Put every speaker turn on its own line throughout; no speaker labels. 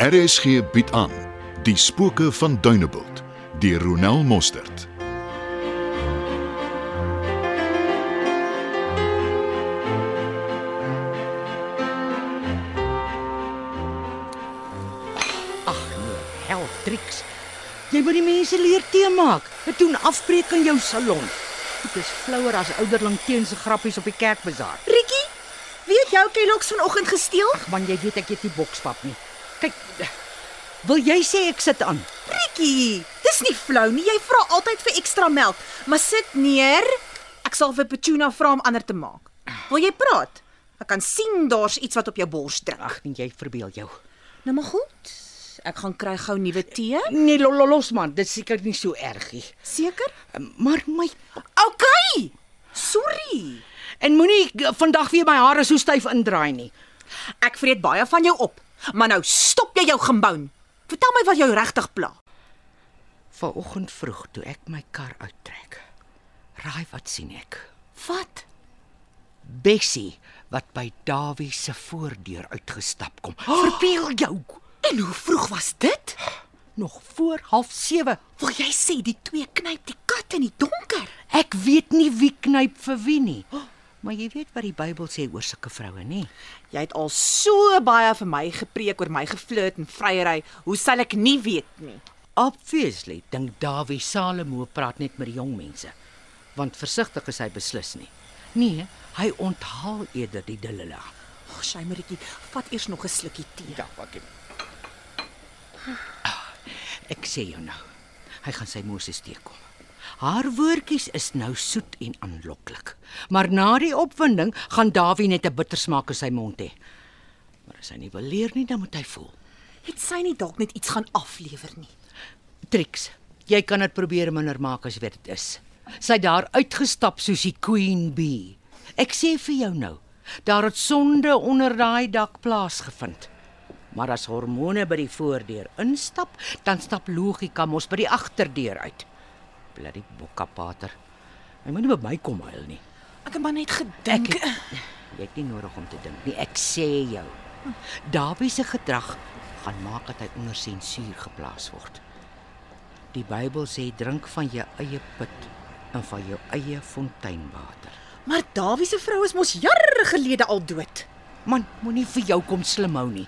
RSG bied aan Die Spooke van Dunebuld deur Ronel Mostert.
Hel, triks. Jy moet die mense leer tee maak. Dit doen afbreek aan jou salon. Dit is flouer as ouderling teen se grappies op die kerkbazaar.
Rikkie, wie het jou Kellogg's vanoggend gesteel?
Man, jy weet ek eet nie bokspap nie. Kyk, wil jy sê ek sit aan?
Rikkie, dis nie flou nie. Jy vra altyd vir ekstra melk, maar sit neer. Ek sal vir Petuna vra om ander te maak. Wil jy praat? Ek kan sien daar's iets wat op jou bors druk.
Ag nee, jy verbeel jou.
Nou maar goed. Ek gaan kry gou nuwe tee.
Nee, lo- lo- los man, dit is seker nie so erg nie.
Seker?
Maar my
OK. Sorry.
en moenie eh, vandag weer my hare so styf indraai nie.
Ek vreet baie van jou op, maar nou stop jy jou gebou. Vertel my wat jou regtig pla.
Vanoggend vroeg toe ek my kar uittrek. Raai wat sien ek?
Wat?
Bessie wat by Dawie se voordeur uitgestap kom. Verbeel jou,
En hoe vroeg was dit?
nog voor 07:30.
Wil jy sê die twee knyp die kat in die donker?
Ek weet nie wie knyp vir wie nie. Maar jy weet wat die Bybel sê oor sulke vroue, nê?
Jy het al so baie vir my gepreek oor my geflirt en vryery. Hoe sal ek nie weet nie?
Obviously dink Dawie Salomo praat net met die jong mense. Want versigtig is hy beslis nie. Nee, hy onthaal eerder die dillila.
Ag, oh, Shaymeritjie, vat eers nog 'n slukkie tee. Ja.
wat ek. Ah, Ek sê jou nou. Hy gaan sy Moses teekom. Haar woordjies is nou soet en aanloklik. Maar na die opwinding gaan Dawie net 'n bitter smaak in sy mond hê. Maar as hy nie wil leer nie, dan moet hy voel.
Het sy nie dalk net iets gaan aflewer nie?
Trix, jy kan dit probeer minder maak as wat dit is. Sy het daar uitgestap soos die queen bee. Ek sê vir jou nou, daar het sonde onder daai dak plaasgevind. Maar as hormone by die voordeur instap, dan stap logika mos by die agterdeur uit. Bloody bokkapater. Hy moenie by my kom huil nie.
Ek het maar net gedink. "Eh, Ek,
Jy het nie nodig om te dink nie. Ek sê jou. Dawie se gedrag gaan maak dat hy onder sensuur geplaas word. Die Bybel sê drink van jou eie put en van jou eie fonteinwater.
maar Dawie se vrou is mos jare gelede al dood.
Man, moenie vir jou kom slimhou nie.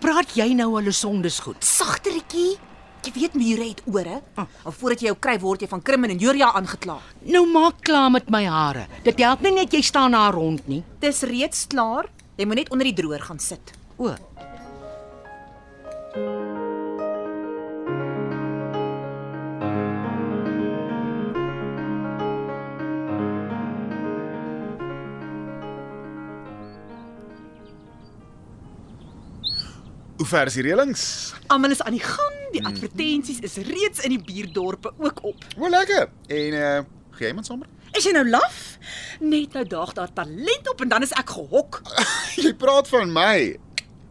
Praat jy nou hulle sondes goed?
Sagteretjie. Jy weet mure het ore. Al voordat jy jou kry word jy van krimin en Joria aangekla.
Nou maak klaar met my hare. Dit help nie net jy staan daar rond nie.
Dis reeds klaar. Jy moet net onder die droër gaan sit.
O,
Hoe ver is die reëlings?
Almal is aan die gang.
Mhm.
Die advertensies is reeds in die buurdorpe ook op.
O, lekker. En eh, gee jy iemand sommer?
Is jy nou laf? Net nou daag daar talent op en dan is ek gehok.
jy praat van my.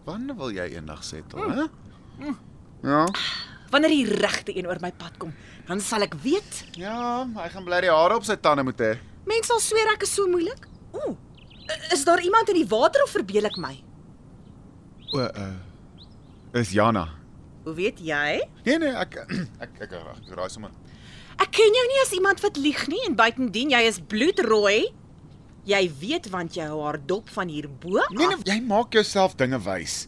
Wanneer wil jy eendag settle, hè? Ja.
Wanneer die regte een oor my pad kom, dan sal ek weet.
Ja, hy gaan bly die hare op sy tande moet hê.
Mense sal sweer ek is so moeilik. Ooh. Is daar iemand in die water of verbeel ek my?
O, uh is Jana.
Hoe weet jy?
Nee nee, ek ek ek, ek raai sommer.
Ek ken jou nie as iemand wat lieg nie en buitendien jy is bloedrooi. Jy weet want jy hou haar dop van hierbo.
Nee nee, jy maak jouself dinge wys.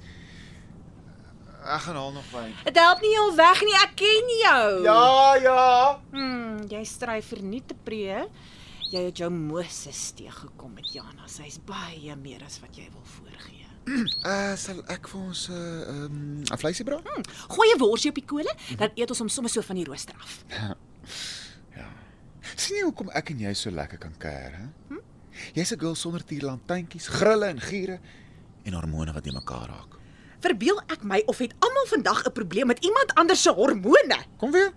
Ek gaan haal nog wyn.
Dit help nie jou weg nie. Ek ken jou.
Ja, ja.
Hmm, jy stry verniet te pree. Jy het jou Moses teëgekom met Jana. Sy's baie meer as wat jy wil voorgee.
Uh sal ek vir ons 'n uh, um, 'n vleisie braai?
Gooi 'n worsie op die kole, dan eet ons hom sommer so van die rooster af.
Ja. Sien jy hoekom ek en jy so lekker kan kuier, hè? Hm? Jy's 'n girl sonder tierlantuintjies, grille en giere en hormone wat nie mekaar raak.
Verbeel ek my of het almal vandag 'n probleem met iemand anders se hormone? Ah,
Kom weer.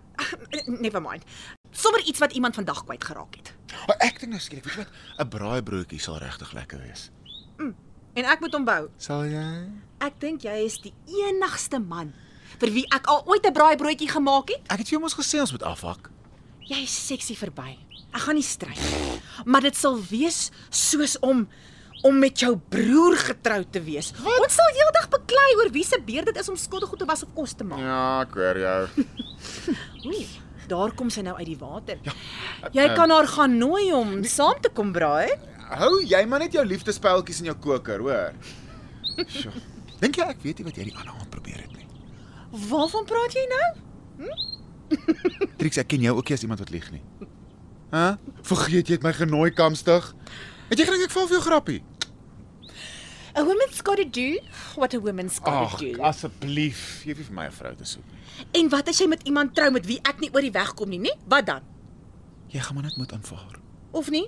Never mind. Sommer iets wat iemand vandag kwyt geraak het.
Maar ek dink nou skielik, weet jy wat? 'n Braaibroodjie sal regtig lekker wees.
En ek moet onthou,
Sal jy?
ek dink jy is die enigste man vir wie ek al ooit 'n braaibroodjie gemaak het.
Ek het vir jou mos gesê ons moet afhak.
Jy's seksie verby. Ek gaan nie stry nie. Maar dit sal wees soos om om met jou broer getroud te wees. Wat? Ons sal heeldag beklei oor wie se beurt dit is om skottel goed te was of kos te maak.
Ja, ek hoor jou.
Oei, daar kom sy nou uit die water. Ja, nee. jy kan haar gaan nooi om saam te kom braai.
Hou jy maar net jou liefdespeltjies in jou koker, hoor. Sjoe. Dink jy ek weet nie wat jy die ander aand probeer het nie?
Waarvan praat jy nou?
Trix, ek ken jou ook nie as iemand wat lieg nie. Hæ? Huh? Vergeet jy het my genooi kamstig? Het jy gedink ek val vir jou grappie?
A woman's got to do what a woman's got to do.
asseblief, jy hoef nie vir my 'n vrou te soek nie.
En wat as jy met iemand trou met wie ek nie oor die weg kom nie, nê? Wat dan?
Jy gaan maar net moet aanvaar.
Of nie?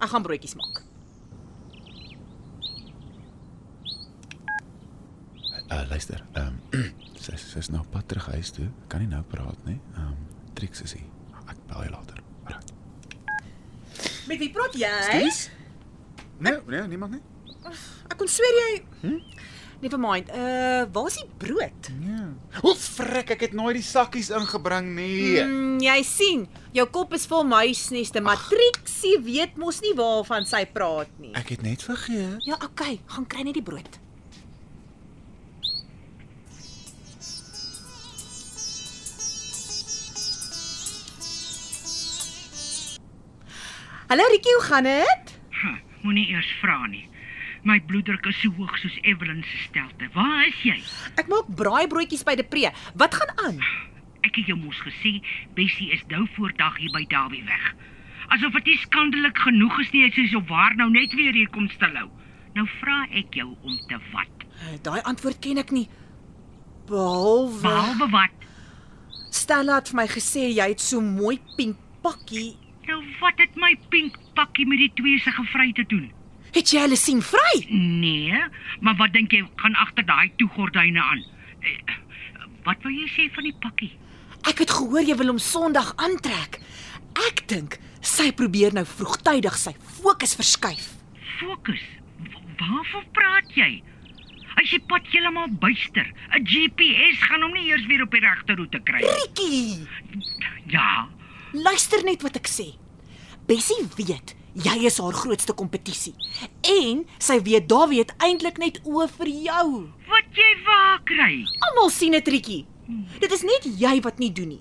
Ek gaan broodjies maak.
Uh, luister, ehm um, sy sy is nou op pad terug huis toe. Kan nie nou praat nie. Ehm um, Trix is hier. Ek bel jou later. Right.
Met wie praat jy?
Nee, nee, niemand nie.
Ek kon sweer jy hm? Never mind. Uh, waar is die brood?
Ja. O, frek, ek het nooit die sakkies ingebring nie.
Mm, jy sien, jou kop is vol muisneste, matrieksie weet mos nie waarvan sy praat nie.
Ek het net vergeet.
Ja, okay, gaan kry net die brood. Hallo Rikie, hoe gaan dit?
Hm, Moenie eers vra nie. My bloeddruk is so hoog soos Evelyn se stelte. Waar is jy?
Ek maak braaibroodjies by Depree. Wat gaan aan?
Ek het jou mos gesê, Bessie is nou voordag hier by Dawie weg. Asof dit nie skandelik genoeg is nie, sy is op waar nou net weer hier kom stilhou. Nou vra ek jou om te wat?
Eh, Daai antwoord ken ek nie. Behalwe
Behalwe wat?
Stella het vir my gesê jy het so mooi pink pakkie.
Nou wat het my pink pakkie met die twee se gevry te doen?
Het jy hulle sien vry?
Nee, maar wat dink jy gaan agter daai toegordyne aan? Eh, Wat wou jy sê van die pakkie?
Ek het gehoor jy wil hom Sondag aantrek. Ek dink sy probeer nou vroegtydig sy fokus verskuif.
Fokus. W- Waarvan praat jy? As jy pad heeltemal buister, 'n GPS gaan hom nie eers weer op die regte roete kry nie.
Rikkie,
Ja,
luister net wat ek sê. Bessie weet jy is haar grootste kompetisie en sy weet Dawie het eintlik net oë vir jou.
wat jy waar kry.
Almal sien dit, Rikkie. Dit is net jy wat nie doen nie.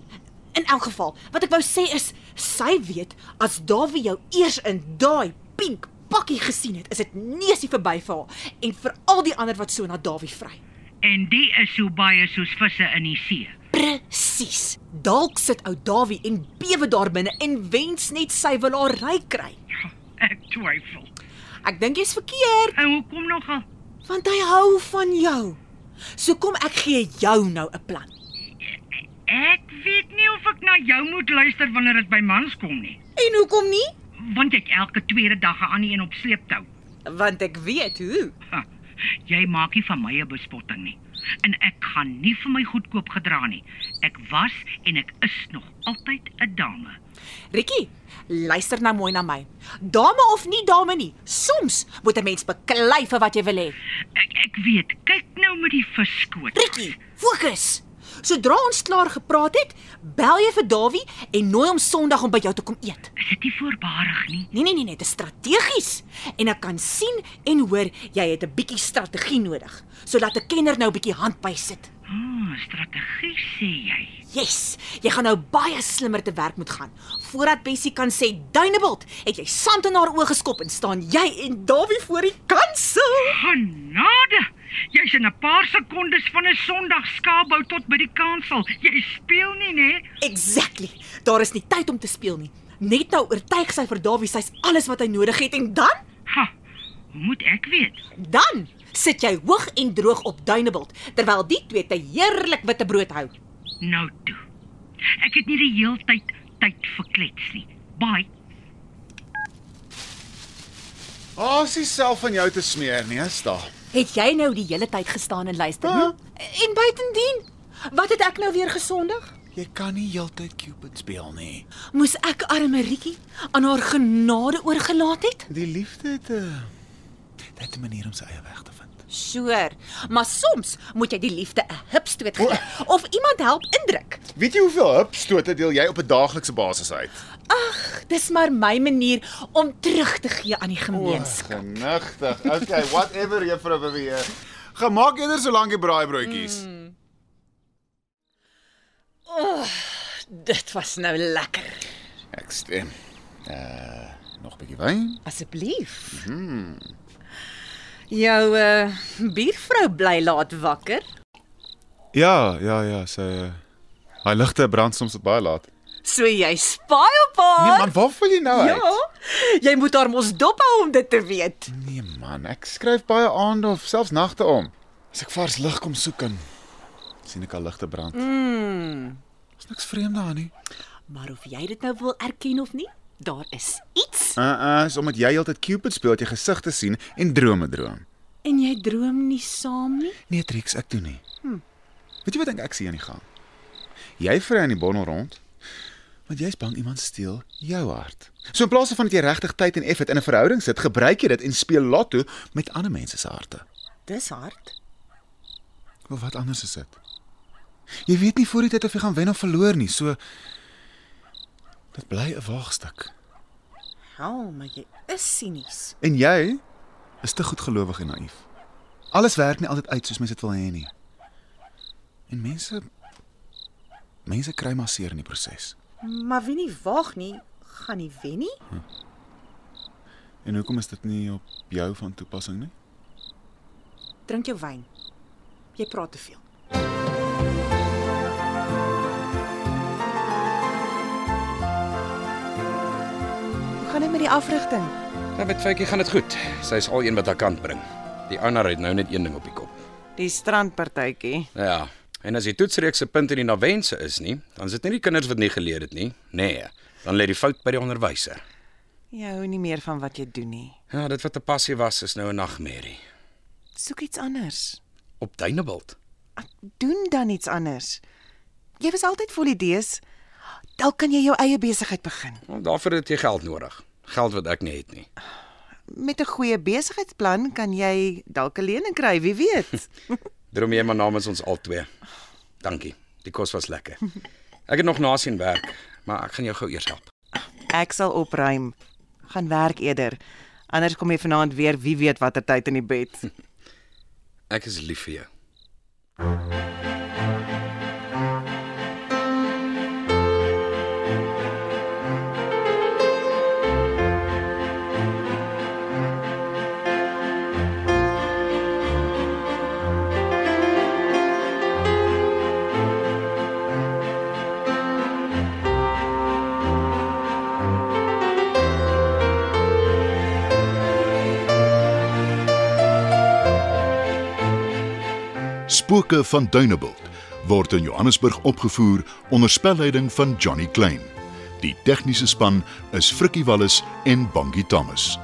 In elk geval, wat ek wou sê is sy weet as Dawie jou eers in daai pink pakkie gesien het, is dit neusie verby vir haar en vir al die ander wat so na Dawie vry.
En die is so baie soos visse in die see.
Presies. Dalk sit ou Dawie en bewe daar binne en wens net sy wil haar ry kry.
Ja, Ek twyfel.
Ek dink jy's verkeerd,
En hoekom nogal?
want hy hou van jou. So kom ek gee jou nou 'n plan.
Ek weet nie of ek na jou moet luister wanneer dit by mans kom nie,
En hoekom nie?
want ek elke tweede dag 'n ander een op sleeptou.
Want ek weet hoe.
Ha, Jy maak nie van my 'n bespotting nie. En ek gaan nie vir my goedkoop gedra nie. Ek was en ek is nog altyd 'n dame.
Rikkie, luister nou mooi na my. Dame of nie dame nie, soms moet 'n mens beklei vir wat jy wil hê.
Ek ek weet, kyk nou met die visskoot.
Rikkie, fokus. Sodra ons klaar gepraat het, bel jy vir Dawie en nooi hom Sondag om by jou te kom eet.
Is dit nie voorbarig nie?
Nee nee nee, nee, dit is strategies en ek kan sien en hoor jy het 'n bietjie strategie nodig sodat 'n kenner nou 'n bietjie hand by sit.
Ah, strategie sê jy.
Yes, jy gaan nou baie slimmer te werk moet gaan. Voordat Bessie kan sê Dunebuld, het jy sand in haar oë geskop en staan jy en Dawie voor die kansel.
Genade! Jy's in 'n paar sekondes van 'n Sondag skaapbou tot by die kansel. Jy speel nie, né?
Exactly. Daar is nie tyd om te speel nie. Net nou oortuig sy vir Dawie sy's alles wat hy nodig het en dan
Ha. Hoe moet ek weet?
dan sit jy hoog en droog op Dunebuld terwyl die twee te heerlik witte brood hou.
Nou toe. Ek het nie die heeltyd tyd vir klets nie. Bye.
Haas oh, self van jou te smeer nie, sta.
Het jy nou die hele tyd gestaan en luister? hm?
Ja.
En buitendien, wat het ek nou weer gesondig?
Jy kan nie heeltyd Cupid speel nie.
Moes ek arme Rietjie aan haar genade oorgelaat het?
eh, Die liefde het 'n uh, dit 'n manier om sy eie weg te vind.
Sure, maar soms moet jy die liefde 'n hupstoot gee
O.
of iemand help indruk.
Weet jy hoeveel hupstote deel jy op 'n daaglikse basis uit?
Ag, dis maar my manier om terug te gee aan die gemeenskap.
Genigtig. Okay, whatever juffrou beweer. Gemaak eerder so lank die braaibroodjies. Mm.
Dit was nou lekker.
Ek stem. Uh, nog 'n bietjie wyn?
Asseblief. Mm. Jou uh, buurvrou bly laat wakker.
Ja, ja, ja, sy hy ligte brand soms baie laat.
So jy spy op haar.
Nee man, waar wil jy nou uit?
Ja. Jy moet haar mos dop hou om dit te weet.
Nee man, ek skryf baie aande of selfs nagte om. As ek vars lig kom soek en sien ek al ligte brand. Mm. Is niks vreemd daarin nie.
Maar of jy dit nou wil erken of nie, daar is iets
Uh uh, is omdat jy heeltyd Cupid speel dat jy gesigte sien en drome droom.
en jy droom nie saam nie.
Nee, Trix, ek doen nie. Hm. Weet jy wat dink ek sien aan die gang? Jy vry aan die bondel rond, want jy's bang iemand steel jou hart. So in plaas van dat jy regtig tyd en effort in 'n verhouding sit, gebruik jy dit en speel lotto met ander mense se harte.
Dis hard.
Of wat anders is dit? Jy weet nie voor die tyd of jy gaan wen of verloor nie, so dit bly 'n waagstuk.
Hou, maar jy is sinies.
En jy is te goedgelowig en naïef. Alles werk nie altyd uit soos mens dit wil hê nie. En mense mense kry maar seer in die proses.
Maar wie nie waag nie, gaan nie wen nie.
En hoekom is dit nie op jou van toepassing nie?
Drink jou wyn. Jy praat te veel. Hoe gaan dit met die afrigting?
Ja, met Faitjie gaan dit goed. Sy is al een wat haar kant bring. Die ander het nou net een ding op die kop.
Die strandpartytjie.
Ja. En as die toetsreeks se punt in die nawense is nie, dan sit nie die kinders wat nie geleer het nie. Nee, dan lê die fout by die onderwyser.
Jy hou nie meer van wat jy doen nie.
Ja, dit wat 'n passie was is nou 'n nagmerrie.
Soek iets anders.
Op Dunebuld.
Doen dan iets anders. Jy was altyd vol idees. Dalk kan jy jou eie besigheid begin.
Nou, daarvoor het jy geld nodig. Geld wat ek nie het nie.
Met 'n goeie besigheidsplan kan jy dalk 'n lening kry, wie weet.
Droom jy maar namens ons albei. Dankie. Die kos was lekker. Ek het nog nasien werk, maar ek gaan jou gou eers help.
Ek sal opruim. Gaan werk eerder. Anders kom jy vanaand weer wie weet watter tyd in die bed.
Ek is lief vir jou.
Spooke van Duneveld word in Johannesburg opgevoer onder spelleiding van Johnny Klein. Die tegniese span is Frikkie Wallis en Bongie Thomas.